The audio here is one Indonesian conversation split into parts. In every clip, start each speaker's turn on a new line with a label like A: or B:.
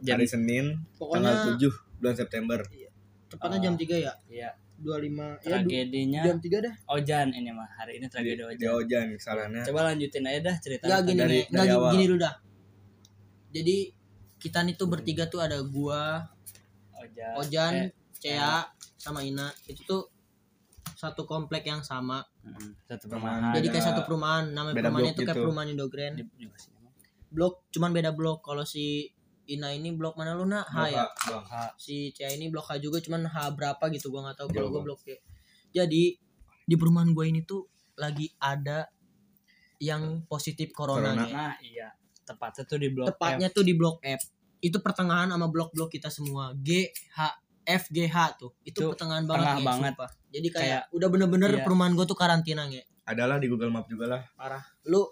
A: Jam-
B: hari Senin tanggal
C: Pokoknya
B: 7 bulan September.
C: tepatnya
A: Ah.
C: jam 3 ya.
A: Iya.
C: 25 ya du- Iya.
A: Tragedinya
C: jam 3 dah.
A: Ojan ini mah. Hari ini
B: Di,
A: tragedi
B: di
A: Ojan.
B: Ojan kesalahannya.
A: Coba lanjutin aja dah cerita.
C: Enggak gini,
B: dari-
C: nih, nggak
B: dari
C: gini,
B: awal.
C: gini dulu dah. Jadi kita nih tuh bertiga tuh ada gua,
A: Ojan.
C: Ojan,
A: Eh,
C: Cea, sama Ina. Itu tuh satu komplek yang sama.
A: mm, satu perumahan.
C: Jadi kayak
B: Ada
C: satu perumahan, nama
B: beda blok
C: perumahannya tuh kayak
B: gitu.
C: perumahan Indogrand.
A: Di- di- di-
C: Blok cuman beda blok. Kalau si Ina ini blok mana lu nak? H ya.
B: Bapak, Bang.
A: Ah,
C: si Cia ini blok H juga cuman H berapa gitu gua nggak tahu kalau
B: Jauh
C: gua blok D. Jadi di perumahan gua ini tuh lagi ada yang positif corona.
B: Corona.
C: Nya.
A: Nah, iya. Tepatnya tuh di blok
C: Tepatnya tuh di blok F. Itu pertengahan sama blok-blok kita semua. G H F G H tuh. Itu,
A: Itu
C: pertengahan
A: tengah
C: banget, Nge,
A: banget.
C: sumpah. Jadi kayak,
A: Kayak-
C: udah bener-bener
A: Iya.
C: perumahan gua tuh karantina nge.
B: Adalah di Google Map juga lah.
C: Parah. Lu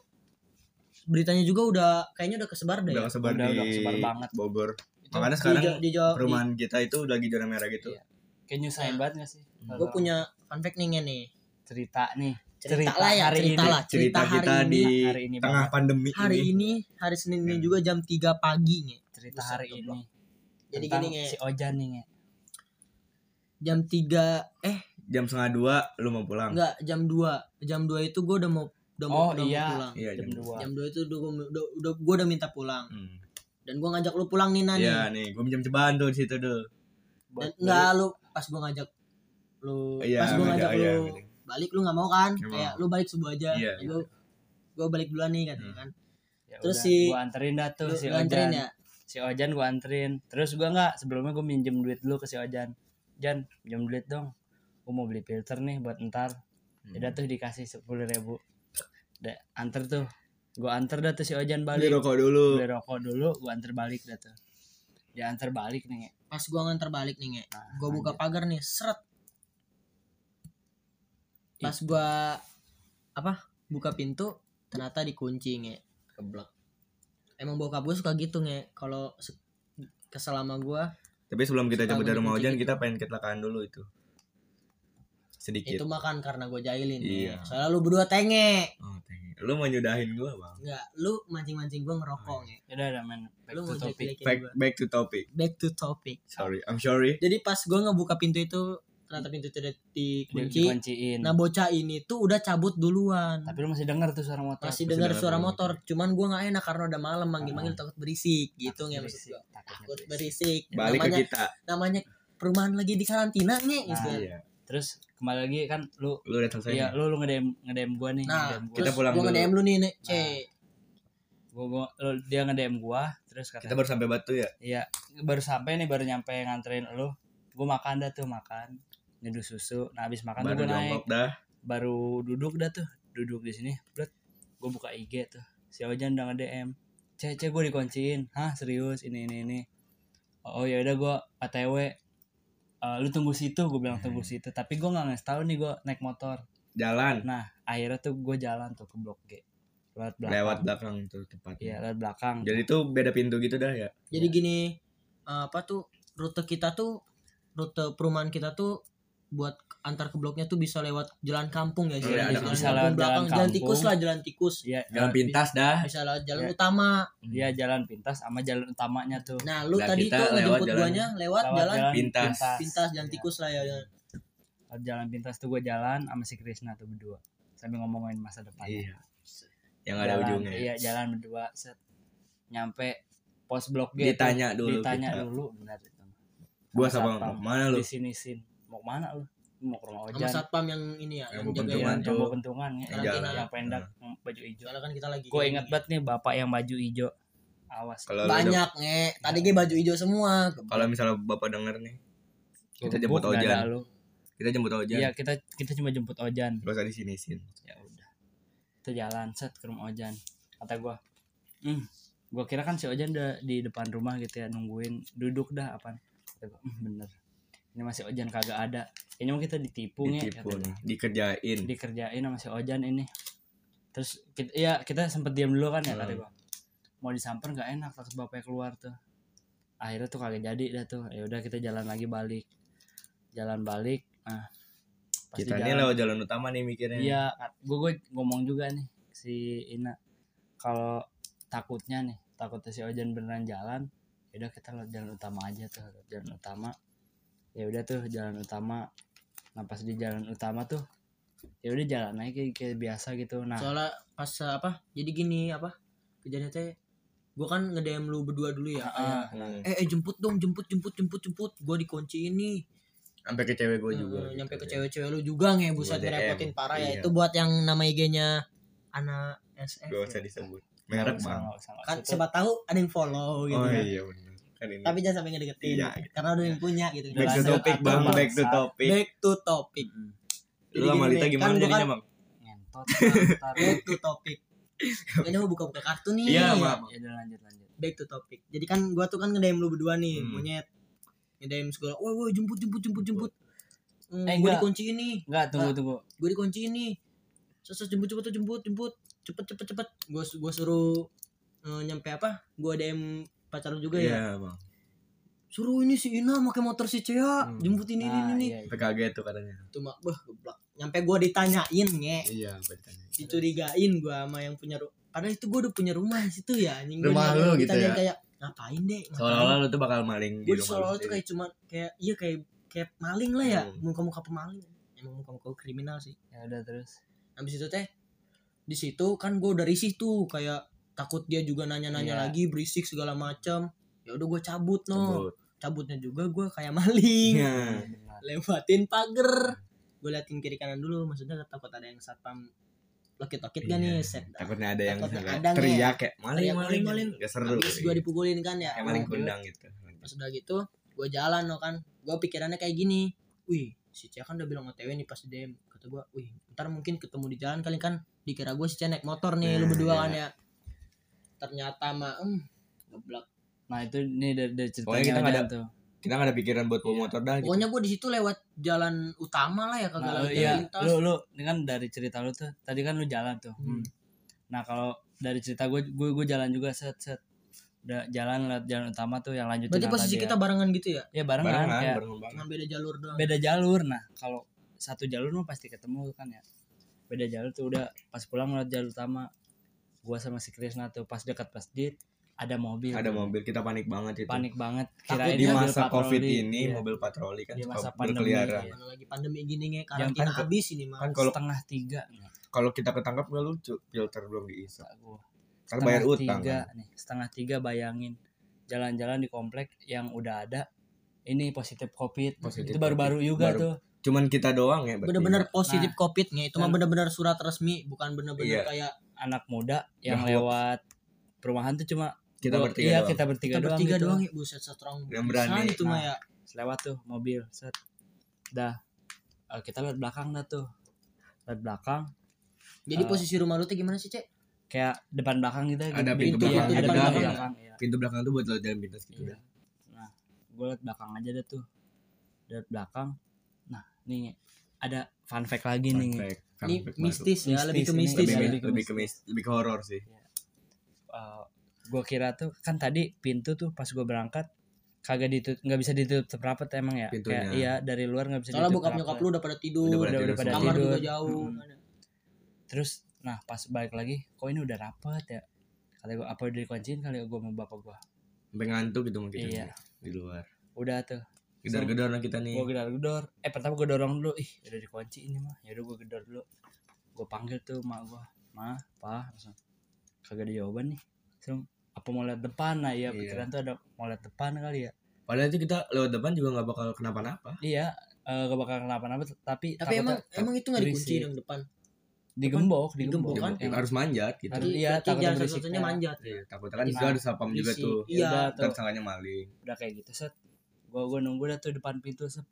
C: beritanya juga udah kayaknya udah kesebar deh.
B: Udah
C: ya.
B: kesebar
A: Udah-
B: di
A: udah kesebar banget.
B: Bogor.
C: Itu
B: Makanya
C: di
B: sekarang
C: Jo- di, Jo- di-
B: Perumahan kita itu lagi zona merah gitu.
A: Iya. Kayak nyusahin
C: Nah.
A: banget gak sih?
B: Gua
C: gua punya fun fact nih nge nih.
A: cerita nih.
C: Cerita,
A: Cerita
C: lah ya,
A: hari
C: cerita
A: ini.
C: lah, cerita,
B: Cerita
C: hari
B: kita
C: ini.
B: di
A: Hari ini
B: tengah pandemi
C: hari
B: ini. Iya.
C: ini hari Senin ini juga jam 3 pagi Nge.
A: cerita
C: Buset,
A: hari
C: goblok.
A: ini.
C: Jadi
A: Tentang
C: gini Nge,
A: si Ojan nih. Nge.
C: jam 3 eh
B: Jam setengah dua lu mau pulang.
C: enggak jam 2. Jam 2 itu gue udah mau udah
A: Oh
C: mau udah mau
A: iya.
C: pulang.
B: Iya,
A: Jam
B: jam
A: 2.
C: Jam 2 itu udah gua udah, udah gua udah minta pulang
B: Hmm.
C: dan gua ngajak lu pulang Nina nih.
B: Iya nih, gue minjem ceban tuh di situ tuh.
C: Dan enggak lu pas gua ngajak lu
B: Iya,
C: pas gua
B: ngajak,
C: ngajak
B: iya,
C: lu
B: ngajak.
C: balik lu nggak mau kan?
B: Nggak
C: Kayak lu balik subuh aja.
B: Iya, Hmm.
C: Ya, gua gua balik duluan nih katanya kan.
A: Ya
C: Terus
A: udah,
C: si-
A: gua anterin dah tuh
C: Lu,
A: si
C: lu anterin
A: Ojan.
C: ya.
A: Si Ojan gua anterin. Terus gua nggak sebelumnya gua minjem duit dulu ke si Ojan. Jan, pinjam duit dong. Gua mau beli filter nih buat ntar. Ya Udah
C: Hmm.
A: tuh dikasih sepuluh ribu. Udah anter tuh. Gua anter dah tuh si Ojan
B: Beli
A: balik.
B: rokok dulu.
A: Beli rokok dulu, gua anter balik dah tuh. Dia anter balik nih. Nge.
C: Pas gua nganter balik nih Nge.
A: Nah,
C: Gua buka pagar nih, seret. Pas gua apa? Buka pintu ternyata dikunci nge. Keblek. Emang bokap gue suka gitu nge. Kalau se- kesel sama gua
B: Tapi sebelum kita
C: Suka
B: cabut dari rumah
C: ngekunci
B: hujan,
C: gitu.
B: kita pengen kecelakaan dulu itu.
C: itu
B: Sedikit.
C: makan karena gua jahilin.
B: Gitu. Iya.
C: Nge. Soalnya lu berdua tenge.
B: Oh, thank you. lu mau nyudahin gue bang.
C: Enggak, lu mancing-mancing gua ngerokok nge.
A: Udah Ya udah men. Back
C: Lu
A: to
C: mau
A: topic.
C: jelek-jelekin
B: Back,
C: Iya, gua.
B: back to topic.
C: Back to topic.
B: Sorry, I'm sorry.
C: Jadi pas gua ngebuka pintu itu ternyata pintu itu udah
A: Di-
C: dikunci.
A: Dikunciin.
C: Nah bocah ini tuh udah cabut duluan.
A: Tapi lu masih denger tuh suara motor.
B: Masih
C: masih dengar
B: dengar Ah.
C: suara
B: bunyi.
C: motor cuman gua nggak enak karena udah malam manggil manggil takut berisik gitu nggak maksud
A: berisik.
C: gua
A: Takutnya
C: takut
A: berisik.
C: berisik
B: Balik
C: Ya, namanya
B: ke kita.
C: namanya perumahan lagi di karantina nih
A: Nah,
C: gitu.
B: Iya.
A: Terus kembali lagi kan lu
B: Lu udah selesai.
A: Iya,
B: nih?
A: lu lu ngedem ngedem gua nih,
C: nah
A: ngedem gua.
C: terus
B: Kita pulang
C: gua
B: dulu. Nah,
C: nge-DM lu nih nek c
A: Gua, gua lu- dia ngedem gua, terus
B: Kita
A: kata
B: baru sampai Batu ya.
A: iya, baru sampai nih baru nyampe nganterin lu. Gua makan dah tuh makan, nyeduh susu. Nah, habis makan
B: Baru
A: tuh gua naik,
B: jongkok dah.
A: baru duduk dah tuh, duduk di sini. Bret, gua buka IG tuh. Si Ojan udah ngedm. "Ce, ce gua dikunciin." Hah, serius ini ini ini. Oh, ya udah gua ATW. Eh, lu tunggu situ, gua bilang tunggu
B: Hmm.
A: situ. Tapi gua nggak ngasih tahu nih gua naik motor.
B: Jalan.
A: Nah, akhirnya tuh gue jalan tuh ke Blok G. Lewat belakang.
B: Lewat belakang tuh
A: Iya,
B: tepatnya.
A: lewat belakang.
B: Jadi tuh beda pintu gitu dah ya.
C: jadi gini eh, apa tuh rute kita tuh rute perumahan kita tuh buat antar ke bloknya tuh bisa lewat jalan kampung
B: Iya,
C: ya istilahnya.
B: ada- bisa
A: lewat
C: belakang,
A: jalan
C: jalan
A: kampung.
C: tikus lah jalan tikus
A: Iya,
B: Jalan
A: eh,
B: pintas dah.
C: bisa lewat jalan
A: Iya.
C: utama
A: Iya, jalan pintas sama jalan utamanya tuh.
C: nah lu
B: Nah,
C: tadi
B: kita
C: tuh
B: lewat
C: ngejemput
B: jalan-
C: guanya lewat,
A: Lewat
C: jalan,
B: pintas.
C: pintas jalan
A: Iya.
C: tikus lah ya jalan-
A: Lewat jalan pintas tuh gue jalan sama si Krisna tuh berdua. Sambil ngomongin masa depan.
B: Iya. Yang ada
A: Jalan-
B: ujungnya. ya.
A: Iya, jalan berdua set. Nyampe pos Blok G. tuh.
B: Ditanya dulu.
A: Gitu. Ditanya
B: kita.
A: dulu benar itu.
B: Gua
A: Sama
B: sama
A: satpam.
B: mana lu?
A: Di sini sin. Mau kemana lu? Mau ke rumah
C: sama
A: Ojan.
C: satpam yang ini ya
B: Yang bentungan
A: Iya,
C: yang jaga jalan
B: tuh.
A: yang bawa bentungan ya.
C: Jalan
A: Yang-
C: pintas.
A: Yang pendek,
B: Nah.
A: baju hijau.
C: Soalnya kan kita lagi.
A: Gue inget banget nih bapak yang baju hijau. Awas.
B: Kalau lu udah-
C: Banyak nge. Tadi gue baju hijau semua.
A: Ah.
B: kalau misalnya bapak denger nih, kita
A: Gebuk
B: jemput
A: nggak ada
B: Ojan.
A: lu.
B: Kita jemput Ojan.
A: Iya kita kita cuma jemput Ojan.
B: Gak usah di sini sin.
A: Ya udah. Kita jalan set ke rumah Ojan. Kata gua, hmm, gua kira kan si Ojan udah di depan rumah gitu ya nungguin duduk dah apa? Kata gua, "Hmm, bener. Ini masih Ojan kagak ada. Kayaknya mah kita ditipu, nih.
B: Ditipu nih, dikerjain.
A: dikerjain sama si Ojan ini. Terus kita, ya kita sempet diam dulu kan ya kata
B: Hmm.
A: gua. Mau disamper nggak enak terus bapaknya keluar tuh. Akhirnya tuh kagak jadi dah tuh. Ya udah kita jalan lagi balik. Jalan balik. Nah, pas
B: Kita
A: di
B: ini
A: jalan-
B: lewat jalan utama nih mikirnya.
A: Iya, gue ngomong juga nih si Ina. Kalau takutnya nih, takutnya si Ojan beneran jalan, ya udah kita lewat jalan utama aja tuh lewat jalan utama ya udah tuh jalan utama nah pas di jalan utama tuh ya udah jalan naik kayak, kayak biasa gitu nah
C: soalnya pas uh, apa jadi gini apa kejadiannya teh gue kan ngedem lu berdua dulu ya kayak,
B: Hmm.
C: eh, eh jemput dong jemput jemput jemput jemput gue dikunci ini
B: sampai ke cewek gue juga
A: Hmm,
C: Eh,
B: gitu
C: nyampe ke
B: ya.
C: cewek-cewek lu juga nge
B: Gua
C: buset
B: DM.
C: ngerepotin parah ya
B: Iya.
C: itu buat yang nama IG-nya anak SF
B: gak usah
C: ya.
B: disebut merek
A: nggak usah,
B: bang
A: nggak usah, nggak
C: kan
A: usah.
C: siapa tahu ada yang follow gitu
B: oh
C: kan.
B: iya benar kan ini
C: tapi jangan sampai ngedeketin
B: Iya,
C: karena udah yang punya gitu
B: back to
A: Lanjut,
B: topic
A: atau
B: bang
A: bang.
B: back to topic
C: back to topic
A: Mm-mm.
C: Jadi
B: lu sama
C: gini
B: Lita
C: nih,
B: gimana
C: kan gua
B: jadinya
C: kan-
B: bang
A: ngentot ntar.
C: back to topic kayaknya mau buka-buka kartu nih
B: iya maaf
A: ya udah lanjut lanjut
C: back to topic jadi kan gua tuh kan ngedem lu berdua nih
B: Hmm.
C: monyet ngedem segala woi woi jemput jemput jemput jemput Hmm,
A: Eh,
C: gua
A: enggak.
C: dikunci ini
A: nggak tunggu tunggu
C: gue dikunci ini sesus jemput jemput jemput jemput cepet cepet cepet gue gue suruh eh, nyampe apa gue dm pacar lu juga ya
B: iya bang
C: suruh ini si Ina pakai motor si Cea
B: Hmm.
C: jemput ini ini
A: Nah,
C: ini
A: iya, iya.
B: sampai kaget tuh katanya
C: tuh mak bah geblak nyampe gue ditanyain nge
B: iya sampai ditanya.
C: dicurigain gue sama yang punya rumah padahal itu gue udah punya rumah di situ ya anjing Gua
B: Rumah
C: nyampe
B: lu gitu
C: ditanyain
B: ya?
C: kayak ngapain deh ngapain?"
B: seolah-olah lu tuh bakal maling rumah
C: gue
B: lu
C: seolah-olah tuh
B: sendiri.
C: kayak cuman kayak iya kayak kayak maling lah ya
B: Hmm.
C: muka-muka pemaling emang muka-muka kriminal sih
A: ya udah terus
C: habis itu teh di situ kan gue udah risih tuh kayak takut dia juga nanya-nanya
A: Iya.
C: lagi berisik segala macam ya udah gue cabut no
B: Sebut.
C: cabutnya juga gue kayak maling
B: iya
A: Benar.
C: lewatin pagar gue liatin kiri kanan dulu maksudnya takut ada yang satpam lokit-lokit gak nih
B: Iya.
C: set
B: takutnya ada yang
C: Takutnya
B: kayak
C: ada nge-
B: teriak kayak maling
C: teriak,
B: maling maling
C: maling.
B: gak seru
C: habis gue dipukulin kan ya
B: kayak maling
A: Lanjut.
B: iya. kundang gitu
C: pas udah gitu gue jalan no kan gue pikirannya kayak gini wih si Cia kan udah bilang OTW nih pas di DM kata gue wih ntar mungkin ketemu di jalan kali kan dikira gue si Cia naik motor nih lu
B: Nah,
C: berdua
B: iya.
C: kan ya ternyata mah em geblak
A: nah itu nih dari, dari ceritanya
B: Pokoknya kita nggak
A: Ojan
B: ada-
A: tuh
B: kita gak ada pikiran buat bawa motor dah gitu
C: pokoknya gue di situ lewat jalan utama lah ya kagak
A: Nah,
C: lewat
A: lu-
C: jalan
A: iya,
C: lintas
A: lu lu ini kan dari cerita lu tuh tadi kan lu jalan tuh.
C: Hmm.
A: Nah, kalau dari cerita gue gue gue jalan juga set set udah jalan lewat jalan utama tuh yang lanjutin
C: berarti
A: yang
C: posisi
A: tadi
C: kita barengan gitu ya
A: ya, ya barengan,
B: barengan
A: kayak
B: barengan banget
C: cuma beda jalur doang
A: beda jalur. Nah, kalau satu jalur mah pasti ketemu kan ya. Beda jalur tuh udah pas pulang lewat jalur utama gua sama si Krisna tuh pas dekat masjid ada mobil.
B: ada mobil kita panik banget itu
A: Iya. Panik banget
C: Takut
A: kirain
B: di
A: mobil
B: masa covid
A: patroli.
B: ini
A: Iya.
B: mobil patroli kan
A: Di
B: suka
A: masa pandemi,
B: berkeliaran
A: iya.
C: mana lagi pandemi gini nge karena
A: Yang
C: kita
A: kan ke-
C: habis ini mah
B: kan kalau
A: setengah tiga nih
B: kalau kita ketangkap gak lucu filter belum diisi
A: kata gua.
B: kan bayar utang
A: tiga
B: kan.
A: nih setengah tiga bayangin jalan-jalan di komplek yang udah ada ini positif covid
B: Positif
A: itu baru-baru
B: COVID.
A: juga
B: Baru-
A: tuh
B: cuman kita doang ya berarti.
C: bener-bener positif covid nge itu mah
A: dan-
C: bener-bener surat resmi bukan
B: Iya.
C: bener-bener kayak
A: anak muda
B: Udah
A: yang
B: hoax.
A: lewat perumahan tuh cuma
B: kita
A: dua-
B: bertiga
A: iya
B: doang
A: kita bertiga
C: kita
A: doang,
C: bertiga
A: gitu.
C: doang ya buset strong
B: Yang berani.
C: itu mah
A: Nah.
C: ya
A: Terus lewat tuh mobil set dah Eh, kita lihat belakang dah tuh lihat belakang
C: Jadi
A: Eh,
C: posisi rumah lu tuh gimana sih, Cek?
A: kayak depan belakang kita gitu
B: Ada pintu
A: Iya, ada
C: belakang, depan
A: pintu
C: belakang.
A: belakang iya.
B: pintu belakang tuh buat lo jalan pintas gitu
A: Iya.
B: dah.
A: Nah, gue liat belakang aja deh tuh. Liat belakang. Nah, nih ada fun fact lagi
B: Fun
A: nih.
B: fact, fun
C: Ini
B: fact baru.
C: mistis ya,
A: Mistis,
C: lebih ke
A: ini
C: mistis
B: lebih,
A: ya.
B: lebih, lebih ke mis- lebih ke horor sih
A: gue eh, kira tuh kan tadi pintu tuh pas gue berangkat kagak ditutup nggak bisa ditutup rapat emang ya
B: Pintunya.
A: Kayak, iya dari luar nggak bisa
C: Soalnya
A: ditutup
C: bokap
A: rapat.
C: nyokap lu udah pada tidur,
B: Udah pada
A: udah udah pada Hmm.
B: semua.
C: kamar
A: tidur
C: juga jauh.
A: Mm-mm. terus nah pas balik lagi kok ini udah rapat ya kata gue apa udah dikunciin kali gue sama bapak gue
B: sampai ngantuk gitu mungkin
A: Iya.
B: di luar
A: udah tuh
B: gedor-gedor lah kita nih
A: gue gedor gedor eh pertama gue dorong dulu ih udah dikunci ini mah ya udah gue gedor dulu gue panggil tuh mak gue ma pa langsung kagak ada jawaban nih langsung apa mau lihat depan nah
B: Iya.
A: ya pikiran tuh ada mau lihat depan kali ya
B: padahal itu kita lewat depan juga nggak bakal kenapa-napa
A: iya eh, gak bakal kenapa-napa tapi
C: Tapi
A: takutnya
C: emang emang itu enggak dikunci
A: berisik.
C: yang depan.
A: digembok digembok
C: digembok
A: kan
C: kan?
B: Kita harus manjat gitu
A: Harus- iya,
C: Berarti
A: takutnya
C: jalan
A: berisik,
C: satu-satunya
A: ya.
C: manjat.
B: Iya, takutnya kan di
A: Nah,
B: situ ada sapam juga
C: Berisik.
B: tuh
C: Iya.
A: Yaudah, tuh.
B: ntar sangkanya maling
A: udah kayak gitu set gue gue nunggu dah tuh depan pintu set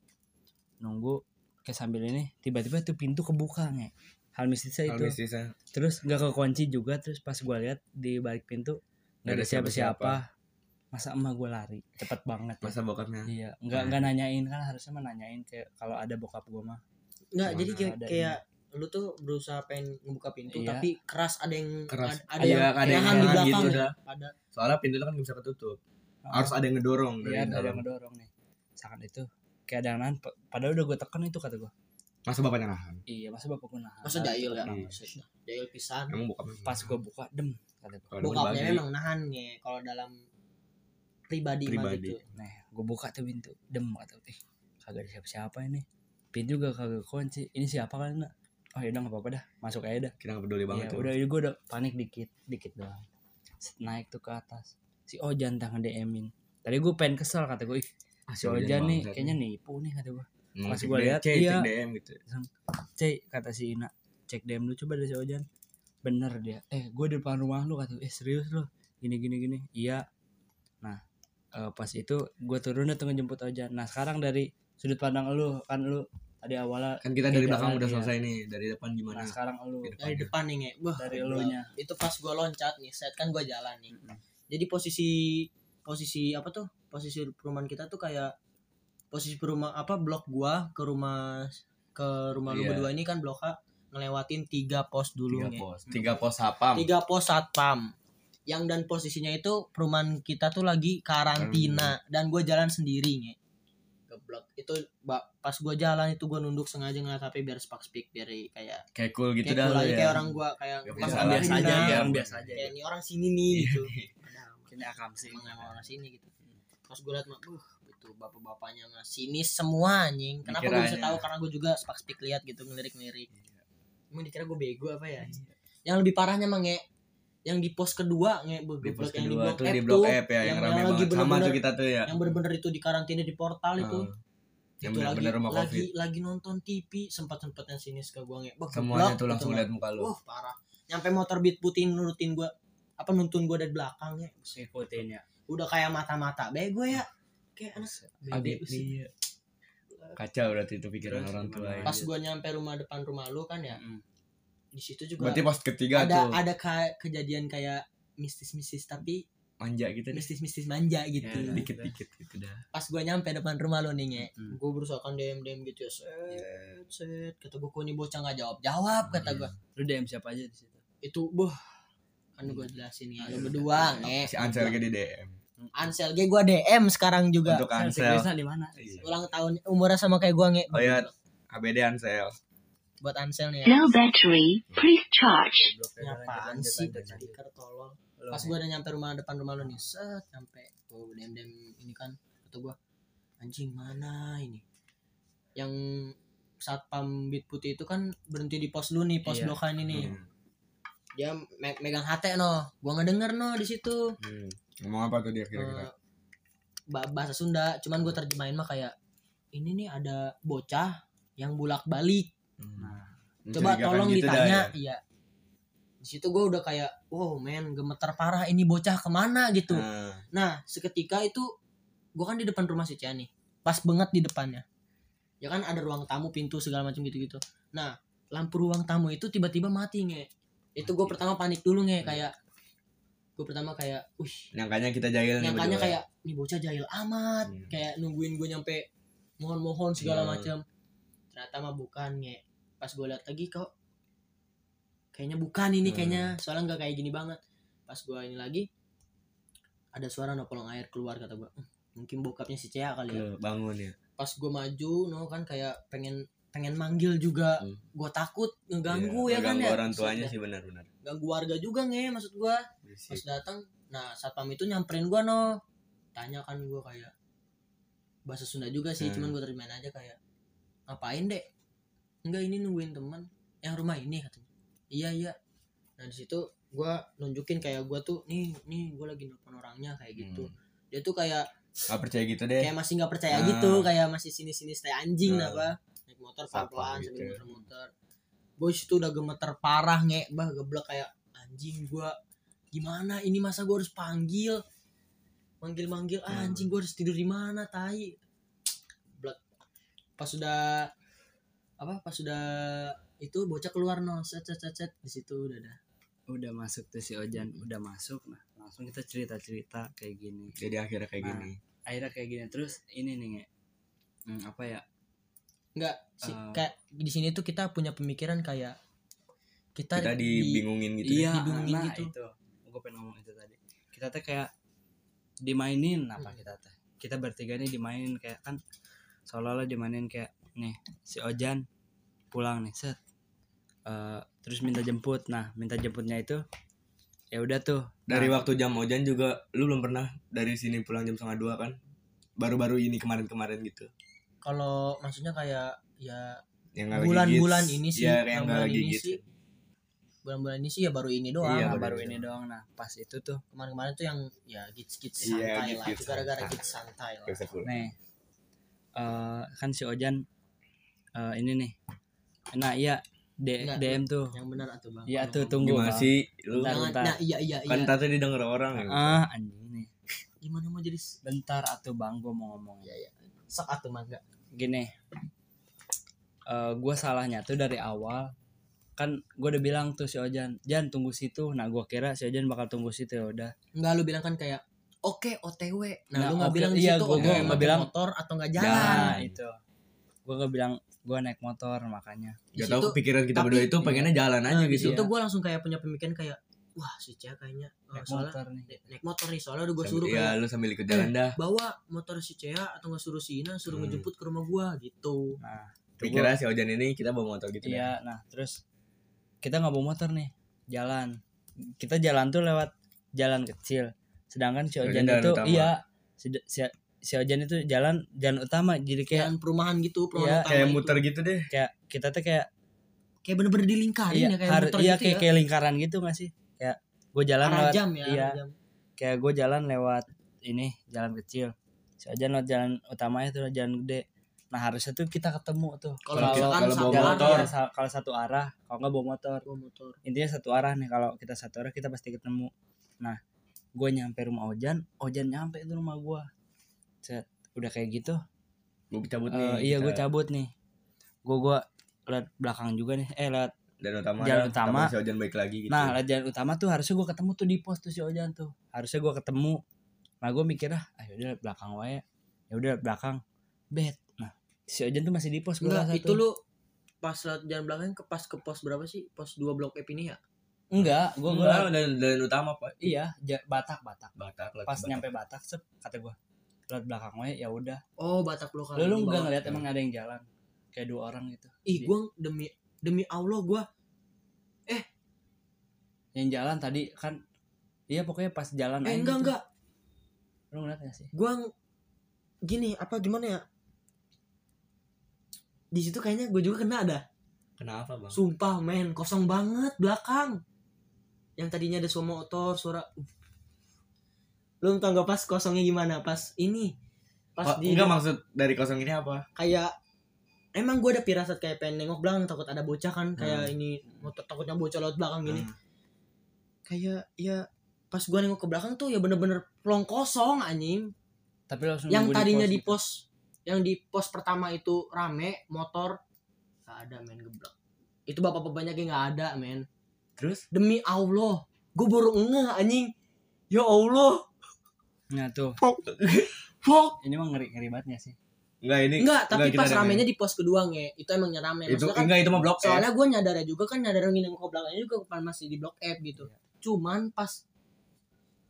A: nunggu kayak sambil ini tiba-tiba tuh pintu kebuka nge hal mistisnya
B: kalau
A: itu
B: mistisnya
A: terus nggak kekunci juga terus pas gua lihat di balik pintu nggak ada siapa-siapa masa emak gua lari cepet banget ya.
B: masa bokapnya
A: iya nggak nggak nanyain kan harusnya mah nanyain kayak kalau ada bokap gua mah
C: Enggak,
B: Mana
C: jadi kayak
A: ada
C: kayak lu tuh berusaha pengen ngebuka pintu
A: Iya.
C: tapi keras ada yang
B: Keras.
C: ada, ada
B: Iya,
C: yang
B: ada yang
C: nahan di
B: nahan
C: belakang
B: gitu
C: ya.
B: dah.
C: Ada
B: soalnya pintunya kan nggak bisa ketutup harus ada yang ngedorong dari
A: iya ada
B: dalam
A: yang ngedorong nih saat itu kayak ada yang nahan, pa- padahal udah gua tekan itu kata gua
B: masa bapaknya nahan
A: iya masa bapak gua nahan
C: masa
A: Lari
C: jahil ya.
A: cepet banget.
C: maksudnya. Jahil pisan.
B: emang bokapnya
A: pas gua buka dem kata gua
B: Kalau
C: Bokapnya
B: dibagi,
C: memang nahan nge kalau dalam pribadi, mah
B: Pribadi.
C: gitu.
A: Nah, gue buka tuh pintu. Dem kata gue, "Ih, kagak ada siapa-siapa ini. Pintu juga kagak kunci. Ini siapa kan, Nak? Oh, ya udah enggak apa-apa dah. Masuk aja dah.
B: Kita nggak peduli banget
A: Ya,
B: tuh.
A: udah gue udah panik dikit, dikit doang. Set, Naik tuh ke atas. Si Ojan tangan DM-in. Tadi gue pengen kesel kata gue, "Ih,
B: Ah,
A: si Ojan nih kayaknya nipu nih kata gue. pas gua lihat,
B: iya.
A: iya.
B: DM gitu.
A: Cek kata si Ina, cek DM lu coba dari si Ojan. Bener dia. Eh, gue di depan rumah lu kata, gue, "Eh, serius lu? Gini gini gini." Iya. Nah, eh, pas itu gue turun datang jemput Ojan. Nah, sekarang dari sudut pandang lu kan lu tadi awalnya
B: Kan kita dari
A: Kayak
B: belakang
A: jalan,
B: udah
A: iya.
B: selesai Gitu. nih, dari depan gimana?
A: nah sekarang lu
B: Ke
C: Dari
B: depannya.
C: depan nih, Nge. Wah,
A: dari
C: gua-
A: elunya.
C: Itu pas gua loncat nih, set kan gua jalan nih. Jadi posisi posisi apa tuh? Posisi perumahan kita tuh kayak posisi perumahan apa blok gua ke rumah ke rumah lu
B: Iya.
C: berdua ini kan blok A ngelewatin tiga pos dulu
B: Tiga
C: Nge.
B: pos, tiga pos sapam.
C: tiga pos satpam yang dan posisinya itu perumahan kita tuh lagi
B: Hmm.
C: karantina dan gue jalan sendiri nge geblok itu ba- pas gue jalan itu gue nunduk sengaja ngeliat HP biar spark speak biar kayak
B: Kayak cool gitu
C: kayak,
B: dah
C: cool
B: lu
C: aja,
B: ya.
C: kayak orang gue kayak
B: Gak
C: bang
B: biasa
C: Amir
B: biasa
C: ini
B: aja, Iya.
C: nah.
B: ya.
A: orang biasa aja.
C: kayak ini orang sini nih gitu Padahal
A: Kini akam sih.
C: emang emang orang sini gitu pas gue liat mah uh itu bapak-bapaknya mah sini semua anjing kenapa gue bisa
B: Dikiranya.
C: tahu karena gue juga spark speak lihat gitu ngelirik-ngelirik
B: Iya.
C: emang dikira gue bego apa ya yang lebih parahnya mah nge yang di pos kedua nge be-
B: Di pos
C: geblek yang di
B: kedua
C: blok
B: tuh
C: F
B: di blok
C: tuh,
B: F ya, yang
C: yang
B: rame
C: lagi
B: banget. Sama
C: bener-bener-
B: tuh kita tuh ya.
C: yang bener-bener itu di karantina di portal itu
B: Heeh. Ah, Yang
C: itu lagi
B: bener-bener rumah
C: lagi
B: covid.
C: lagi nonton TV sempat sempatnya sinis ke gua nge Bah,
B: Semuanya
C: geblek
B: tuh
C: gitu,
B: langsung
C: Nge.
B: lihat muka lu.
C: wah parah nyampe motor beat putih nurutin gua apa nuntun gua dari belakang nge
A: Ikutin ya.
C: udah kayak mata-mata bego ya kayak anak
B: Abis
C: bego
B: iya.
C: sih.
B: Kacau berarti itu pikiran
A: Terus
B: orang tua.
A: gimana?
B: ya.
C: pas gua nyampe rumah depan rumah lu kan ya
A: Mm.
C: di situ juga
B: Berarti pos ketiga
C: ada
B: tuh
C: ada ka- kejadian kayak mistis-mistis tapi
B: manja gitu deh.
C: mistis-mistis manja gitu.
A: Ya, iya.
B: Dikit-dikit gitu dah.
C: Pas gue nyampe depan rumah lo nih, nge.
B: Hmm.
A: Mm.
C: Gue berusaha kan DM-DM gitu ya.
B: Iya.
C: Set, set. Kata gue, kok ini bocah gak
B: Hmm.
C: jawab-jawab, kata gue.
A: Lu DM siapa aja di situ?
C: Itu, boh. Kan gue jelasin ya. Lo berdua, nge.
B: Iya. Si Ansel gitu. ke di DM.
C: Ansel, gue gua DM sekarang juga.
B: Untuk Ansel.
A: Krisna di mana?
B: Iya.
C: Ulang tahun, umurnya sama kayak gue, nge.
B: Oh iya. ABD Ansel.
C: Buat Ansel nih ya. Nah,
D: No battery, please charge.
A: Goblok ya, lanjut,
C: Apaan
A: lanjut,
C: sih,
A: lanjut,
C: baca
A: lanjut.
C: stiker, tolol.
A: Lu
C: pas
A: nih.
C: gue udah nyampe rumah depan rumah lo nih set nyampe gue dem dem ini kan kata gue anjing mana ini yang satpam bit putih itu kan berhenti di pos lu nih pos
A: Iya.
C: blokan ini
B: Hmm.
C: dia me- megang hati no gue ngedenger no di situ
B: Hmm. Ngomong apa tuh dia kira-kira?
C: Eh, ba- bahasa Sunda cuman gue terjemahin mah kayak ini nih ada bocah yang bulak balik
B: Hmm.
C: coba
B: Mencurigakan
C: tolong
B: gitu dah
C: ditanya
B: ya.
C: iya di situ gue udah kayak wow men gemeter parah ini bocah kemana gitu
B: Nah,
C: Nah, seketika itu gua kan di depan rumah si Cia nih. Pas banget di depannya. Ya kan ada ruang tamu, pintu segala macam gitu-gitu. Nah, lampu ruang tamu itu tiba-tiba mati, Nge. Itu gua pertama panik dulu,
B: Hmm.
C: Nge, kayak gua pertama kayak, "Wih,
B: nyangkanya kita jahil nih
C: nyangkanya
B: berdua.
C: kayak nih bocah jahil amat."
B: Hmm.
C: Kayak nungguin gua nyampe mohon-mohon segala
B: Iya.
C: macam. Ternyata mah bukan, Nge. Pas gua lihat lagi kok kayaknya bukan ini
B: Hmm.
C: kayaknya, soalnya nggak kayak gini banget. Pas gua ini lagi ada suara no kolong air keluar kata gua "Hmm, mungkin bokapnya si Cea kali ya
B: Lu bangun ya.
C: pas gua maju no kan kayak pengen pengen manggil juga
B: Hmm.
C: gua takut ngeganggu
B: Iya,
C: ya kan
B: ngeganggu
C: ya
B: orang tuanya
C: Maksudnya,
B: sih benar-benar.
C: ganggu warga juga nge maksud gua pas
B: Berisik.
C: datang nah satpam itu nyamperin gua no tanya kan gua kayak bahasa Sunda juga sih
B: Hmm.
C: cuman gua terjemahin aja kayak ngapain dek enggak ini nungguin teman yang rumah ini katanya iya iya nah di situ gua nunjukin kayak gua tuh nih nih gua lagi nelpon orangnya kayak gitu
B: Hmm.
C: dia tuh kayak
B: Gak percaya gitu deh.
C: kayak masih nggak percaya
B: Ah.
C: gitu kayak masih sini sini stay anjing
B: Ah.
C: apa naik motor pelan pelan
B: Satpam
C: sambil
B: gitu.
C: muter muter gue itu udah gemeter parah nge bah geblek kayak anjing gua gimana ini masa gua harus panggil manggil manggil ah,
B: Hmm.
C: anjing gua harus tidur di mana tai Geblek. pas sudah apa pas sudah itu bocah keluar no set set set, set. di situ udah dah
A: udah masuk tuh si Ojan udah masuk nah langsung kita cerita cerita kayak gini
B: Jadi akhirnya kayak
A: Nah.
B: gini.
A: akhirnya kayak gini terus ini nih Nge. Hmm, apa ya
C: nggak si,
A: Ah.
C: kayak di sini tuh kita punya pemikiran kayak kita,
B: Kita
C: di-
B: dibingungin gitu.
A: iya
C: didungin
A: nah,
C: gitu.
A: itu gue pengen ngomong itu tadi kita teh kayak dimainin apa
C: Hmm.
A: kita teh kita bertiga nih dimainin kayak kan seolah-olah dimainin kayak nih si Ojan pulang nih set Eh, terus minta jemput nah minta jemputnya itu ya udah tuh
B: Dari waktu jam hujan juga lu belum pernah dari sini pulang jam setengah dua kan? Baru-baru ini kemarin-kemarin gitu.
C: kalau maksudnya kayak ya
B: Yang nggak lagi
C: bulan-bulan
B: gigs.
C: ini sih
B: Iya, yang
C: yang
B: nggak
C: bulan
B: lagi
C: ini
B: gigs.
C: sih bulan-bulan ini sih ya baru ini doang
B: Iya,
A: Nah,
B: baru
A: baru
B: ini
A: ini doang nah pas itu tuh
C: kemarin-kemarin tuh yang ya gits
B: Iya,
C: gits santai lah
B: gits-gits
C: itu gara-gara
B: santai.
C: gits santai lah
B: Nggak bisa pulang.
A: nih eh kan si Ojan eh ini nih nah iya D-
C: Nggak,
A: DM tuh
C: yang benar atau bang
A: iya tuh
C: Kalau ngomong.
A: tunggu
B: Gimana
A: Bang.
B: sih lu?
A: Bentar,
C: Jangan-
A: bentar.
C: nah iya iya iya Nah,
B: Kan tadi didengar orang ya.
A: ah anjing nih
C: gimana mau jadi s-
A: bentar atuh bang gue mau ngomong
C: ya ya sok atau mangga
A: gini eh gue salahnya tuh dari awal kan gue udah bilang tuh si Ojan Jan tunggu situ nah gue kira si Ojan bakal tunggu situ ya udah
C: Enggak lu bilang kan kayak oke OTW. Nah,
A: Nah,
C: lu nggak
A: oke,
C: bilang
A: iya,
C: di situ
B: gua
A: gua-
C: OTW
B: nggak
C: pakai
A: bilang.
C: motor atau nggak
B: Jalan.
C: jalan.
A: nah itu gue gak bilang gue naik motor makanya
B: Gak
C: Di situ,
B: tau pikiran kita
C: tapi-
B: berdua itu pengennya jalan aja
C: nah, di
B: gitu.
C: situ gua langsung kayak punya pemikiran kayak wah si Cia kayaknya
A: Iya.
C: eh,
A: naik
C: soalnya
A: motor nih
C: na- naik motor nih soalnya udah gua
B: Sambil-
C: suruh kan.
B: Iya,
C: kayak
B: lu sambil ikut jalan dah.
C: bawa motor si Cia atau nggak suruh si Ina suruh
B: Hmm.
C: ngejemput ke rumah gua gitu.
A: nah
B: Pikirnya si Ojan ini kita bawa motor gitu.
A: iya nah terus kita nggak bawa motor nih jalan kita jalan tuh lewat jalan kecil sedangkan si
B: Ojan
A: Ojan
B: jalan
A: itu
B: utama.
A: iya si, si, si Ojan itu jalan jalan utama jadi kayak
C: Jalan perumahan
A: Iya,
C: gitu, perumahan utama
B: Kayak
C: itu.
B: muter gitu
C: Iya.
B: deh.
A: kayak kita tuh kayak
C: Kayak bener-bener dilingkarin
A: iya,
C: ya kayak
A: har-
C: muter
A: iya,
C: gitu
A: kayak,
C: ya.
A: kayak lingkaran gitu gak sih kayak gue jalan
C: arah
A: lewat
C: jam ya,
A: iya.
C: arah jam.
A: kayak gue jalan lewat ini jalan kecil si Ojan lewat jalan utamanya tuh lewat jalan gede nah harusnya tuh kita ketemu tuh
C: Kalau
B: Kalau-
C: misalkan
B: kalau bawa
C: satu
A: jalan
B: motor.
A: iya, sa- kalau satu arah kalau nggak bawa motor
C: bawa motor.
A: intinya satu arah nih kalau kita satu arah kita pasti ketemu nah gue nyampe rumah Ojan Ojan nyampe tuh rumah gue set udah kayak gitu
B: Gue cabut
A: eh,
B: nih.
A: iya
B: kita
A: gue cabut nih gue gue lewat belakang juga nih eh lewat
B: Jalan utama.
A: Jalan
B: dah.
A: utama.
B: Tapi Si Ojan baik lagi gitu.
A: Nah, latihan utama tuh harusnya gue ketemu tuh di pos tuh si Ojan tuh. Harusnya gue ketemu. Nah, gue mikir ah, ah, yaudah belakang wae. Ya udah belakang. Bet. Nah, si Ojan tuh masih di pos gua
C: Enggak,
A: rasa
C: itu
A: tuh.
C: lu pas lewat jalan belakang ke pas ke pos berapa sih? Pos 2 blok F ini ya?
A: Enggak, gue
B: Enggak,
A: gua
B: jalan, jalan utama, Pak.
A: iya, ja- Batak, Batak.
B: Batak lah.
A: Pas
B: Batak.
A: nyampe Batak sep kata gue. Lewat belakang wae ya udah.
C: Oh, Batak lokal.
A: Lu lu
C: di
A: enggak
C: bawah.
A: ngeliat emang ada yang jalan. Kayak dua orang gitu.
C: Ih, gua demi demi Allah gua
A: Yang jalan tadi kan Iya pokoknya pas jalan
C: eh
A: aja
C: enggak
A: gitu.
C: enggak.
A: Lu ngeliat gak sih?
C: Gua ng- gini apa gimana ya? Di situ kayaknya gue juga kena ada.
B: Kenapa, Bang?
C: Sumpah men, kosong banget belakang. Yang tadinya ada suara motor, suara Lu tau gak pas kosongnya gimana? Pas ini. Pas
B: Pa-
C: di
B: enggak maksud dari kosong ini apa?
C: kayak emang gue ada pirasat kayak pengen nengok belakang takut ada bocah kan kayak ini motor takutnya bocah lewat belakang gini
B: Hmm.
C: kayak ya pas gue nengok ke belakang tuh ya bener-bener plong kosong anjing
A: Tapi lu langsung
C: yang
A: nunggu
C: tadinya
A: pos.
C: di
A: gitu.
C: pos yang di pos pertama itu rame motor gak ada men geblek itu bapak bapaknya kayak nggak ada men
B: Terus
C: demi allah gue baru ngeh anjing ya allah
A: Nah, tuh.
C: fuck
A: Ini mah ngeri-ngeri banget gak sih?
B: enggak ini
C: enggak tapi
B: kita
C: pas
B: ada
C: ramenya di pos kedua nge itu emangnya rame
B: main. itu eh.
C: Maksudnya kan
B: enggak itu mah blok F.
C: soalnya gue nyadarnya juga kan nyadar nginep ke belakangnya juga kan masih di blok F gitu
B: Iya.
C: cuman pas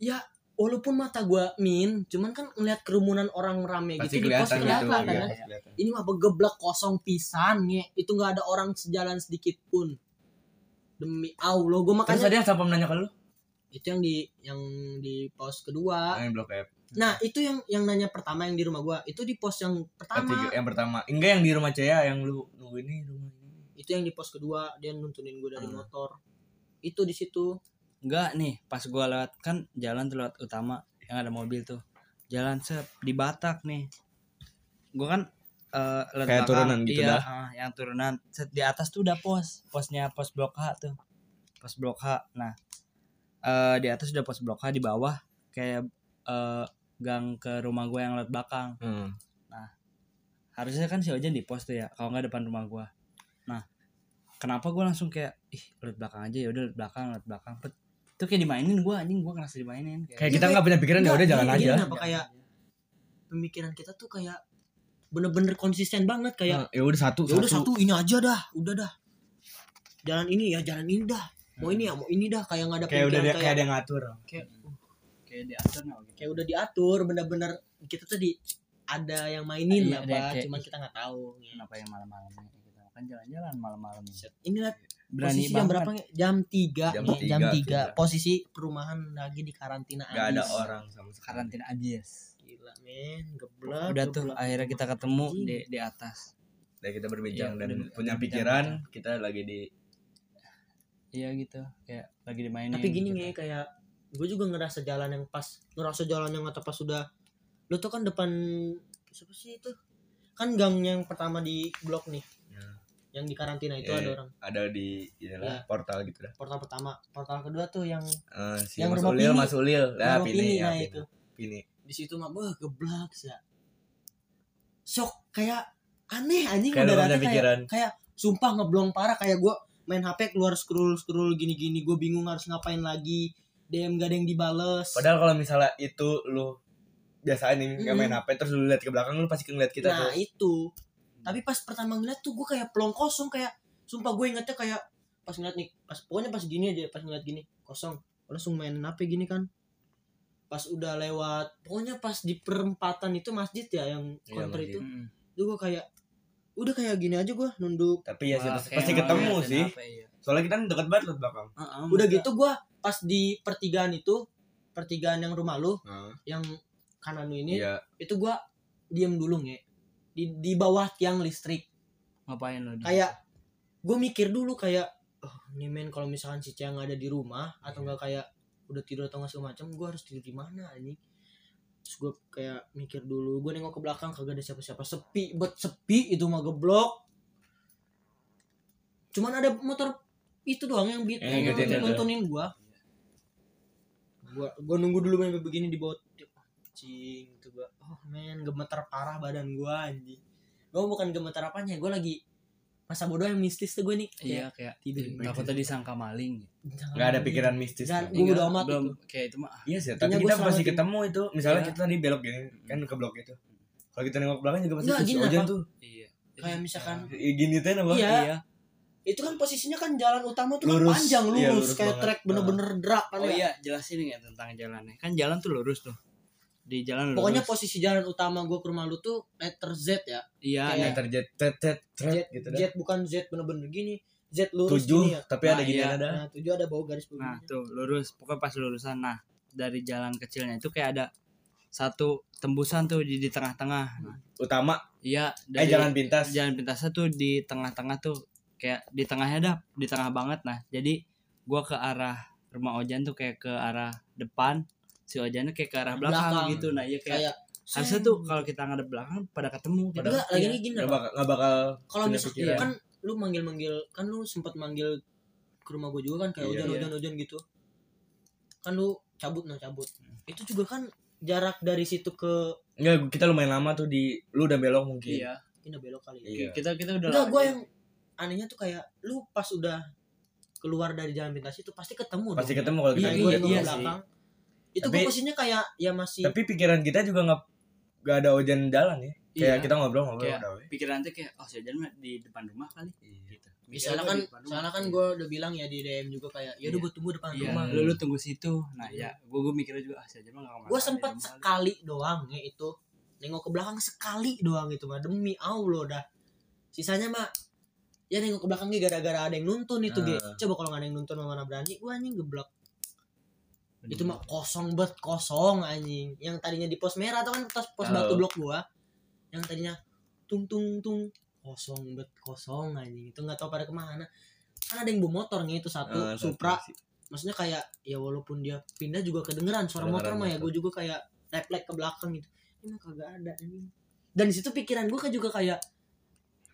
C: ya walaupun mata gue min cuman kan ngeliat kerumunan orang rame
B: pasti
C: gitu di pos
B: kelihatan gitu.
C: kelihatan
B: iya,
C: kan
B: pasti kelihatan.
C: ini mah begeblek kosong pisan nge itu nggak ada orang sejalan sedikit pun demi allah gue
B: Terus
C: makanya
B: tadi siapa menanya ke lu?
C: itu yang di yang di pos kedua
B: Yang blok F.
C: nah itu yang yang nanya pertama yang di rumah gue itu di pos yang
B: Tiga-
C: pertama
B: yang eh? pertama. Enggak yang di rumah Cea yang lu nunggu ini rumah ini.
C: itu yang di pos kedua dia nuntunin gue dari
B: Hmm.
C: motor itu di situ
A: Enggak nih, pas gua lewat kan jalan tuh lewat utama yang ada mobil tuh. Jalan sep di Batak nih. Gua kan eh lewat
B: Kayak
A: belakang,
B: turunan gitu
A: iya,
B: dah.
A: ah, yang turunan. Set di atas tuh udah pos, posnya pos blok H tuh. Pos blok H. Nah, eh di atas udah pos blok H di bawah kayak eh gang ke rumah gua yang lewat belakang.
B: Hmm.
A: Harusnya kan si Ojan di pos tuh ya, kalau nggak depan rumah gua. Nah, kenapa gua langsung kayak ih lewat belakang aja ya udah lewat belakang lewat belakang. Pet. Itu kayak dimainin gua anjing gua ngerasa dimainin kayak.
B: Kayak
C: Iya,
B: kita enggak punya pikiran ya
C: enggak,
B: udah jalan
C: gini-
B: aja.
C: gini kenapa kayak pemikiran kita tuh kayak bener-bener konsisten banget kayak
B: Nah, Ya udah satu
C: ya udah satu ini aja dah udah dah jalan ini ya jalan ini dah mau ini ya mau ini dah kayak nggak ada
B: Kayak udah
C: pemikiran
B: dia
C: kayak
B: kayak ada yang ngatur.
C: kayak,
A: kayak diatur nah gitu.
C: kayak udah diatur bener-bener kita tuh di ada yang mainin
A: Iya,
C: lah
A: ada
C: Pak.
A: kayak-
C: cuman kita nggak tahu ya.
A: Kenapa yang gitu. malam-malam ini kita kan jalan-jalan malam-malam ini.
C: Set. inilah
A: berani
C: posisi jam
A: banget
C: berapa nge? Jam 3
B: Jam
C: nge. jam
B: tiga,
C: 3.
B: Vina.
C: Posisi perumahan lagi di karantina
B: Gak ada
C: abis.
B: orang sama sekali.
A: karantina abis
C: Gila men, geblak.
A: udah tuh
C: geblak.
A: akhirnya kita ketemu di di atas
B: Dan kita berbincang
A: Iya,
B: dan
A: udah-
B: punya
A: udah
B: pikiran kita lagi di
A: iya gitu kayak lagi dimainin
C: Tapi gini
A: gitu.
C: nge kayak gue juga ngerasa jalan yang pas, ngerasa jalan yang atau pas sudah lu tuh kan depan siapa sih itu? Kan gang yang pertama di blok nih.
B: Ya.
C: Yang di karantina itu
B: Eh.
C: ada orang.
B: ada di inilah
C: Iya.
B: portal gitu dah.
C: Portal pertama, portal kedua tuh yang
B: Eh, si
C: Yang
B: Mas
C: rumah
B: Ulil,
C: Pini.
B: Mas Ulil. Lah,
C: Nah,
B: Pini, ya,
C: nah
B: Pini.
C: itu.
B: Pini.
C: Di situ mah beuh geblak sih. Sok kayak aneh anjing
B: Kayak lu
C: udah
B: gak punya pikiran.
C: kayak sumpah ngeblong parah kayak gue main HP keluar scroll scroll gini gini gue bingung harus ngapain lagi DM gak ada yang dibales
B: Padahal kalau misalnya itu lu biasa nih nggak main
C: Mm.
B: HP terus lu lihat ke belakang lu pasti ngeliat kita
C: nah
B: tuh. Hmm.
C: itu tapi pas pertama ngeliat tuh gue kayak plong kosong kayak sumpah gue ingetnya kayak pas ngeliat nih pas pokoknya pas gini aja pas ngeliat gini kosong Gua langsung main HP gini kan pas udah lewat pokoknya pas di perempatan itu masjid ya yang
B: Iya,
C: konter
B: masjid.
C: itu
A: Mm-mm.
C: tuh gue kayak udah kayak gini aja gue nunduk
B: Tapi ya sih
A: Wah,
B: pasti,
A: kayak
B: pasti
A: emang
B: ketemu
A: ngeliatin
B: sih.
A: apa, iya.
B: Soalnya kita dekat banget liat belakang.
A: Hmm,
C: udah gitu gue pas di pertigaan itu pertigaan yang rumah lu yang kanan lu Nah, ini
B: Nah, Iya.
C: itu gua diem dulu nge di, di bawah tiang listrik
A: ngapain Iya, lo di
C: kayak gue mikir dulu kayak oh ini men kalau misalkan si Cia nggak ada di rumah atau nggak kayak udah tidur atau nggak segala macam gue harus tidur di mana ini terus gue kayak mikir dulu gue nengok ke belakang kagak ada siapa-siapa sepi bet sepi itu mah geblok cuman ada motor itu doang yang beat
B: Eh,
C: yang
B: ngikutin
C: ngikutin
B: itu.
C: nontonin gue gue gue nunggu dulu main begini di bawah cing itu gue oh men gemeter parah badan gue anjing gue bukan gemeter apanya gue lagi masa bodoh yang mistis tuh gue nih
A: iya kayak
C: tidur
A: takutnya disangka maling
B: Nggak ada pikiran mistis.
C: Dan-
B: Iya.
C: Gua udah amat
A: belum kayak itu mah ah,
B: Iya sih, tapi
C: Intinya
B: kita
C: gua
B: pasti
C: selamatin.
B: ketemu itu. Misalnya
A: Iya.
B: kita tadi belok gini, kan ke blok itu. Kalau kita nengok ke belakang juga pasti
C: Nggak,
B: si
C: gini
B: Ojan
C: apa?
B: tuh.
A: iya
C: Kayak misalkan-
A: Ah,
B: i- Gini tuh apa?
C: Iya.
A: iya
C: itu kan posisinya kan jalan utama tuh kan
B: Lurus.
C: panjang lurus,
B: Iya, lurus
C: kayak
B: banget.
C: trek bener-bener drag kan
A: oh
C: ya.
A: iya jelasin nggak tentang jalannya kan jalan tuh lurus tuh di jalan lurus
C: pokoknya posisi jalan utama gue ke rumah lu tuh letter Z
A: iya
C: ya kayak-
A: iya.
B: Yang terjet tet tet
C: Z,
B: tret gitu
C: Z
B: dah.
C: bukan Z bener-bener gini Z lurus
B: Tujuh,
C: gini ya
B: tapi ada
A: Nah,
B: gini
A: iya.
B: ada.
C: nah tujuh ada bau garis
A: Nah
C: begini
A: tuh lurus, pokoknya pas lurusan. Nah dari jalan kecilnya itu kayak ada satu tembusan tuh di, di tengah-tengah. Nah,
B: Utama,
A: iya
B: eh
A: dari
B: jalan pintas.
A: jalan pintasnya tuh di tengah-tengah tuh kayak di tengahnya dah, di tengah banget. Nah jadi gua ke arah rumah Ojan tuh kayak ke arah depan, si Ojannya kayak ke arah belakang,
C: Belakang.
A: gitu. Nah iya kayak,
C: kayak
A: harusnya tuh kalau kita ngadep belakang pada ketemu. gitu. Iya. Pada
C: enggak lagi gini
B: Nggak
C: apa?
B: bakal, nggak bakal
C: kalau
B: punya
C: misalkan
B: pikiran.
C: kan lu manggil-manggil kan lu sempat manggil ke rumah gue juga kan kayak
B: Iya,
C: hujan
B: iya.
C: hujan hujan gitu kan lu cabut nah cabut
B: Hmm.
C: itu juga kan jarak dari situ ke
B: Enggak, kita lumayan lama tuh di lu udah belok mungkin.
A: Iya.
C: ini belok kali ya
B: Iya.
A: Kita kita udah.
C: Enggak,
A: lama
C: gue
A: aja.
C: yang anehnya tuh kayak lu pas udah keluar dari jalan pintas itu pasti ketemu
B: Pasti
C: dong.
B: ketemu kalau kita
C: Iya,
A: Iya,
C: gua
A: iya
C: nengok
A: iya
C: ke
A: sih.
C: belakang. Itu
B: Tapi-
C: gue posisinya kayak ya masih
B: Tapi pikiran kita juga nggak nggak ada Ojan jalan ya. Kayak
A: Iya.
B: kita ngobrol-ngobrol
A: Kayak-
B: udah we.
A: Pikiran tuh kayak oh si Ojan mah di depan rumah kali. Gitu.
C: Ya, soalnya
B: Iya,
C: kan soalnya kan gue udah bilang ya di DM juga kayak ya udah
A: Iya.
C: gue tunggu depan
A: Iya,
C: rumah.
A: lu, lu tunggu situ. Nah, ya, gua gua mikirnya juga ah si Ajeng mah nggak kemana-mana
C: Gue
A: di
C: sempet
A: rumah.
C: sekali doang ya itu nengok ke belakang sekali doang itu mah demi Allah dah. Sisanya mah ya nengok ke belakang ge gara-gara ada yang nuntun itu ge.
B: Nah.
C: Coba kalau nggak ada yang nuntun mah mana berani gue anjing geblek.
A: Bener.
C: Itu mah kosong bet kosong anjing. Yang tadinya di pos merah atau kan pos pos
B: Tahu.
C: batu blok gua. Yang tadinya tung tung tung kosong bet kosong anjing. Itu nggak tahu pada kemana. Kan ada yang bawa motornya itu satu
B: Ah,
C: Supra
B: satu sih.
C: maksudnya kayak ya walaupun dia pindah juga kedengeran suara
B: Kedengeran
C: motor mah ya
B: motor.
C: gue juga kayak refleks ke belakang gitu ini mah kagak ada ini dan di situ pikiran gue juga kayak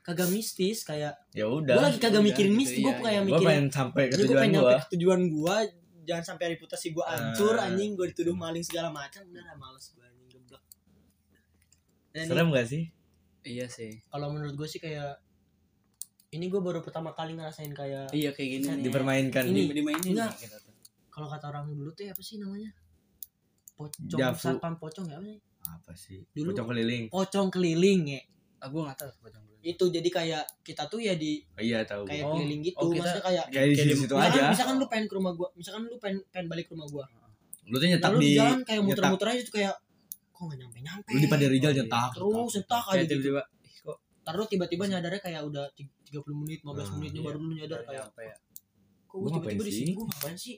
C: kagak mistis kayak
B: Ya
C: gue
B: udah.
C: lagi kagak
A: udah,
C: mikirin
A: gitu,
C: mistis gue
A: iya,
C: kayak
B: Gue
C: mikirin
B: pengen sampai ke
C: jadi gue
B: tujuan
C: pengen
B: gue.
C: nyampe ke tujuan gue jangan sampai reputasi gue hancur
B: Ah.
C: anjing gue dituduh maling segala macam udah lah males gue anjing geblek dan
B: Serem gak sih?
A: Iya sih.
C: kalau menurut gue sih kayak ini gue baru pertama kali ngerasain kayak
A: Iya kayak gini
C: Ini-
A: nih.
B: Dipermainkan.
C: Ini-
A: Di- dimainin
C: Enggak.
A: nih kita tuh.
C: kalau kata orang dulu tuh ya apa sih namanya pocong
B: Javu.
C: satpam pocong ya apa sih
B: Apa sih?
C: Dulu-
B: Pocong keliling.
C: pocong keliling ya
A: Ah, gua enggak tahu pocong dulu.
C: itu jadi kayak kita tuh ya di
B: Oh, iya tahu.
C: kayak
A: Oh.
C: keliling gitu
A: Oh, kita-
C: maksudnya kayak
B: Kayak di
A: Kayak di-
B: situ
A: Itu
C: misalkan,
B: aja.
C: misalkan lu pengen ke rumah gua misalkan lu pengen pengen balik ke rumah gua
B: Lu tuh
C: nah,
B: nyetak
C: lu
B: di
C: di jalan kayak
B: nyetak.
C: muter-muter aja tuh kayak kok gak nyampe nyampe
B: Lu di Padre Rijal
A: Oh, iya.
B: nyetak.
C: terus ntar aja
A: Kayak
C: gitu
A: tiba-tiba ih kok
C: Ntar lu tiba-tiba nyadarnya kayak udah 30 30 menit 15
B: Hmm,
A: iya.
C: menitnya baru lu nyadar
A: Baru
C: kayak
A: nyampe ya.
C: kok gue
B: Gua
C: tiba-tiba
B: ngapain
C: di
B: sih?
C: sini gue ngapain sih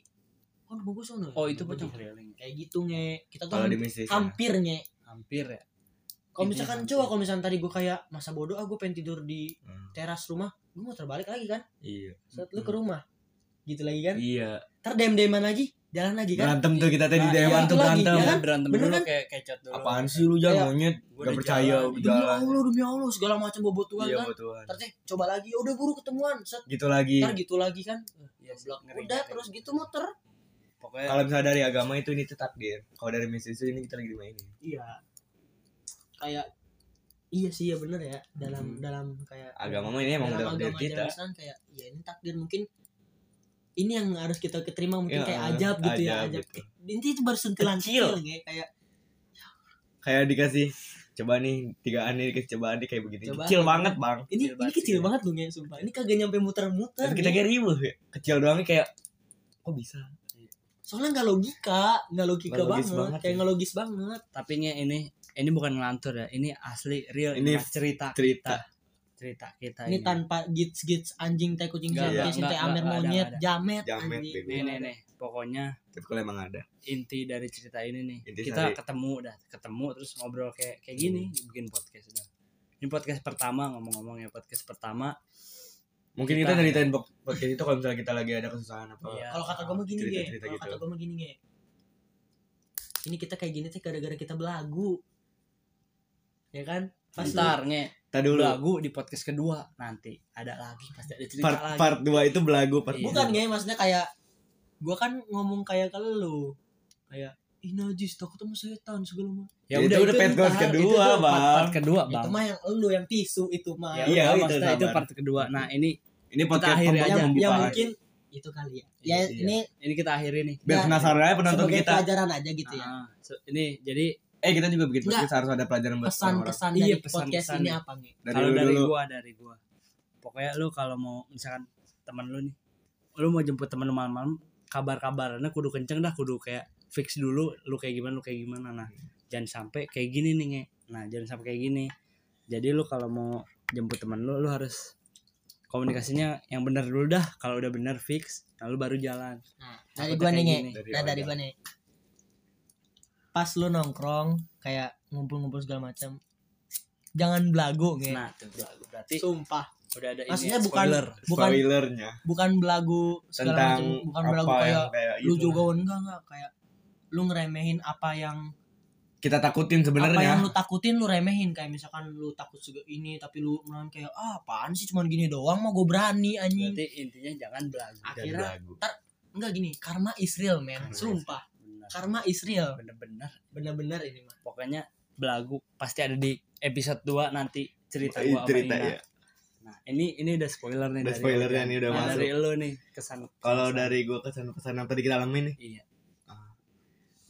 C: kan rumah gue sono ya?
A: oh itu
C: Rumah
A: pocong
C: gua.
A: keliling
C: kayak gitu nge kita tuh
B: Kalau di mistis ya.
C: hampir nge
A: hampir ya
C: kalau
A: Intinya
C: misalkan
A: hampir.
C: coba kalau misalkan tadi gue kayak masa bodoh ah gue pengen tidur di
B: Hmm.
C: teras rumah gue mau terbalik lagi kan
B: Iya.
C: saat lu ke
A: Hmm.
C: rumah gitu lagi kan
B: Iya.
C: ntar dem deman lagi jalan lagi kan
B: Berantem tuh kita tadi
A: Nah,
B: di
A: iya,
B: Dewan
C: itu
B: tuh
C: lagi, Iya.
B: berantem.
C: ya kan?
A: berantem
C: Bener
A: dulu
C: kan?
A: kayak kecot dulu
B: Apaan sih lu jangan
C: Kayak,
B: monyet?
A: Gua
B: Gak
A: udah
B: percaya
A: jalan.
C: demi
B: jalan.
C: allah demi allah segala macam bobot tuan
B: Iya
C: kan
B: buat Tuhan.
C: ntar cek, coba lagi "Ya udah buru ketemuan set
B: Gitu lagi.
C: ntar gitu lagi kan
A: Iya sih, ngeri
C: udah
A: banget
C: terus
A: ya.
C: gitu muter Eh.
A: pokoknya
B: Kalau misalnya dari agama itu ini tuh takdir. Kalau dari mistis itu ini kita lagi dimainin.
C: iya kayak iya sih ya bener ya dalam dalam kayak
B: Hmm. Agama mah ini emang udah
C: dalam
B: takdir
C: agama
B: kita.
C: jelasan kayak ya ini takdir mungkin ini yang harus kita keterima mungkin
B: Ya,
C: kayak ajab gitu ya
B: ajab
C: ajab
B: gitu.
C: intinya itu baru sentilan
A: Kecil.
C: kecil, nge. kayak
B: Kayak dikasih coba nih tigaan nih dikasih cobaan nih kayak begini.
C: Cobaan.
B: Kecil banget, Bang.
C: ini
A: Kecil
C: ini
A: banget
C: kecil
A: sih,
C: banget loh nge sumpah ini kagak nyampe muter-muter
B: Tapi kita
C: nge.
B: kayak ribut ya. Kecil doang nih kayak kok bisa?
C: soalnya nggak logika nggak logika
B: Nggak logis
C: banget,
B: banget
C: kayak
B: ya.
C: nggak logis banget
A: tapi nge, ini ini bukan ngelantur ya ini asli real
B: Ini
A: mas, cerita
B: Cerita.
A: cerita kita
C: ini tanpa gits gits anjing teh kucing
A: Nggak, nggak,
C: jam teh
A: nggak,
C: amer
A: nggak, ada,
C: monyet
A: nggak
C: jamet
B: Jamet,
C: anjing
B: bego.
A: nih nih nih pokoknya
B: Tapi kalau emang ada.
A: inti dari cerita ini nih
B: Inti Hmm.
A: kita
B: sari.
A: ketemu dah ketemu terus ngobrol kayak kayak gini bikin podcast udah ini podcast pertama ngomong-ngomong ya podcast pertama
B: Mungkin
A: Kita-
B: kita ceritain pod- podcast itu kalau misalnya kita lagi ada kesusahan apa.
A: Iya.
C: ya. kalau kata gue mah gini ge
B: Cerita-cerita
C: kalau
B: gitu.
C: kata gue mah gini ge ini kita kayak gini teh gara-gara kita belagu ya kan pas lu-
A: Bentar nge
B: Kita dulu
A: lagu di podcast kedua nanti ada lagi pasti ada cerita
B: part
A: lagi
B: part 2 itu belagu part
A: Iya.
C: Bukan ya maksudnya kayak gua kan ngomong kayak ke lu. Kayak ih najis takut sama setan segala macam.
A: ya
B: Itu
A: udah
B: udah
A: itu
B: part
A: ntar,
B: kedua,
A: itu tuh part-
B: Bang.
A: part kedua bang
C: Itu mah yang lu yang tisu itu mah.
B: Iya,
A: ya, udah,
B: itu
A: maksudnya itu
B: sabar.
A: part kedua nah ini
B: Ini podcast
A: akhiri
B: pembuka-
A: aja.
C: yang, yang
B: pembukaan.
C: mungkin itu kali ya. Ya
B: Iya.
C: ini
A: ini kita akhiri nih
B: biar
C: Ya,
B: penasaran aja penonton
C: sebagai
B: kita.
C: pelajaran aja gitu ya.
A: Nah, so- ini jadi
B: Eh kita juga bikin podcast harus ada pelajaran buat orang-orang.
C: Pesan-pesan
A: Iya,
C: dari
A: pesan-pesan
C: podcast
A: nih.
C: ini apa nih?
B: Dari
A: kalau
B: dulu
A: dari
B: dulu.
A: gua dari gua pokoknya lu kalau mau misalkan teman lu nih lu mau jemput teman lu malam-malam kabar-kabarannya kudu kenceng dah kudu kayak fix dulu lu kayak gimana lu kayak gimana nah jangan sampai kayak gini nih nge nah jangan sampai kayak gini jadi lu kalau mau jemput teman lu lu harus komunikasinya yang benar dulu dah kalau udah benar fix nah lu baru jalan
C: Nah, dari
A: Hmm, Takutnya
C: gua nih
A: kayak
C: Nge.
A: gini.
B: Dari
C: Nah, dari
B: awal.
C: gua nih. Pas lu nongkrong kayak ngumpul-ngumpul segala macam. Jangan belagu nge.
A: nah tuh belagu. berarti
C: Sumpah.
A: udah ada ini ya,
C: Maksudnya bukan
A: spoiler.
C: bukan
B: Spoilernya
C: bukan belagu segala
B: tentang
C: macam bukan belagu
B: apa
C: kayak
B: yang kayak
A: gitu.
B: gitu.
C: lu
B: itu.
C: juga enggak enggak kayak lu ngeremehin apa yang
B: Kita takutin
C: apa yang
A: ya?
B: sebenarnya. ya.
C: lu takutin lu remehin kayak misalkan lu takut juga ini tapi lu malah kayak ah apaan sih cuman gini doang mau gue berani anjing
A: berarti intinya jangan belagu
C: Ah.
B: Dan
C: Akhirnya-
B: belagu.
C: enggak gini karma Israel
B: Karma
C: men sumpah
A: bener
C: karma Israel
A: bener-bener
C: bener-bener ini mah
A: pokoknya belagu pasti ada di episode 2 nanti cerita
B: Ih,
A: gua sama
B: cerita
A: Ina.
B: ya.
A: Nah, ini ini udah spoiler nih
B: Udah
A: dari
B: spoilernya
A: Ojan.
B: nih, udah
A: Nah,
B: masuk.
A: Dari lu nih kesan.
B: Kalau dari gua kesan-pesan yang tadi kita alamin nih.
A: Iya.
B: Ah.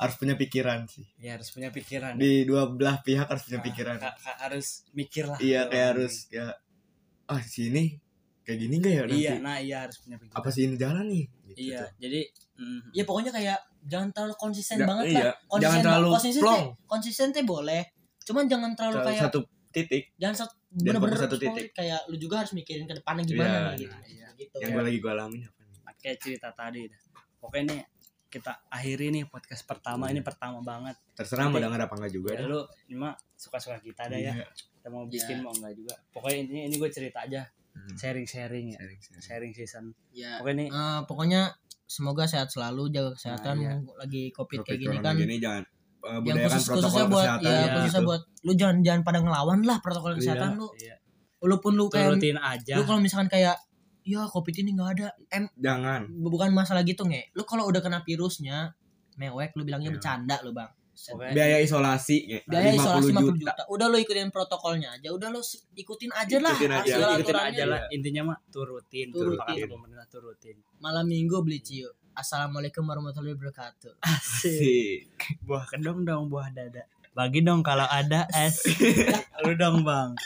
B: Harus punya pikiran sih.
A: ya harus punya pikiran. ya.
B: Di dua belah pihak harus Iya,
C: Ah,
B: punya
A: Nah,
B: pikiran.
A: ka- ka- harus mikir lah.
B: Iya kayak harus kayak ah sini kayak gini enggak ya nanti?
A: Iya, nah iya harus punya pikiran.
B: Apa sih ini jalan nih? Gitu
A: Iya,
B: tuh.
A: jadi mm,
C: ya pokoknya kayak jangan terlalu konsisten
B: Ja-
C: banget
B: iya.
C: lah konsisten
B: Jangan terlalu
C: konsisten teh-
B: plong.
C: konsisten teh boleh cuman jangan terlalu
B: Terlalu
C: kayak
B: satu titik
C: jangan satu
B: Dan
C: bener-bener
B: fokus satu
C: solid.
B: titik.
C: kayak lu juga harus mikirin ke depannya gimana
B: Iya,
C: nih, gitu,
A: nah, iya.
C: gitu.
B: yang gua lagi gua alamin apa nih?
A: kayak cerita tadi dah. Pokoknya nih kita akhiri nih podcast pertama ini pertama banget.
B: Terserah mau
A: Titik.
B: denger apa enggak juga
C: Iya,
A: Ya,
B: dah.
A: lu cuma suka-suka kita ada ya.
B: Iya.
A: Kita mau bikin mau enggak juga. Pokoknya intinya ini gue cerita aja,
B: Hmm.
A: sharing-sharing ya.
B: Sharing, sharing.
A: Sharing season.
C: ya
A: Pokoknya nih
C: Eh, pokoknya semoga sehat selalu jaga kesehatan
A: Nah, iya.
C: mumpung lagi covid
B: Covid
C: kayak gini
B: corona
C: kan
B: gini jangan eh,
C: yang
B: budayakan
C: khusus
B: protokol
C: khususnya buat
B: kesehatan
C: ya,
A: ya,
C: khususnya
B: gitu.
C: buat lu jangan jangan pada ngelawan lah protokol
B: Iya.
C: kesehatan lu
A: iya.
C: lu pun lu kayak
A: turutin aja.
C: lu kalau misalkan kayak ya covid ini nggak ada em
B: jangan
C: bukan masalah gitu nge lu kalau udah kena virusnya mewek lu bilangnya
B: Iya.
C: bercanda lu bang
A: Pokoknya
B: biaya isolasi kayak
C: biaya
B: 50
C: isolasi 50 juta. udah lu ikutin protokolnya aja udah lu se- ikutin aja lah
B: Ikutin aja.
C: segala
A: ikutin
C: aturannya.
A: aja lah intinya mah turutin
C: Turutin.
A: apa kata pemerintah turutin
C: malam minggu beli ciu assalamualaikum warahmatullahi wabarakatuh
B: Sih.
A: buah kedong dong buah dada bagi dong kalau ada es lu dong bang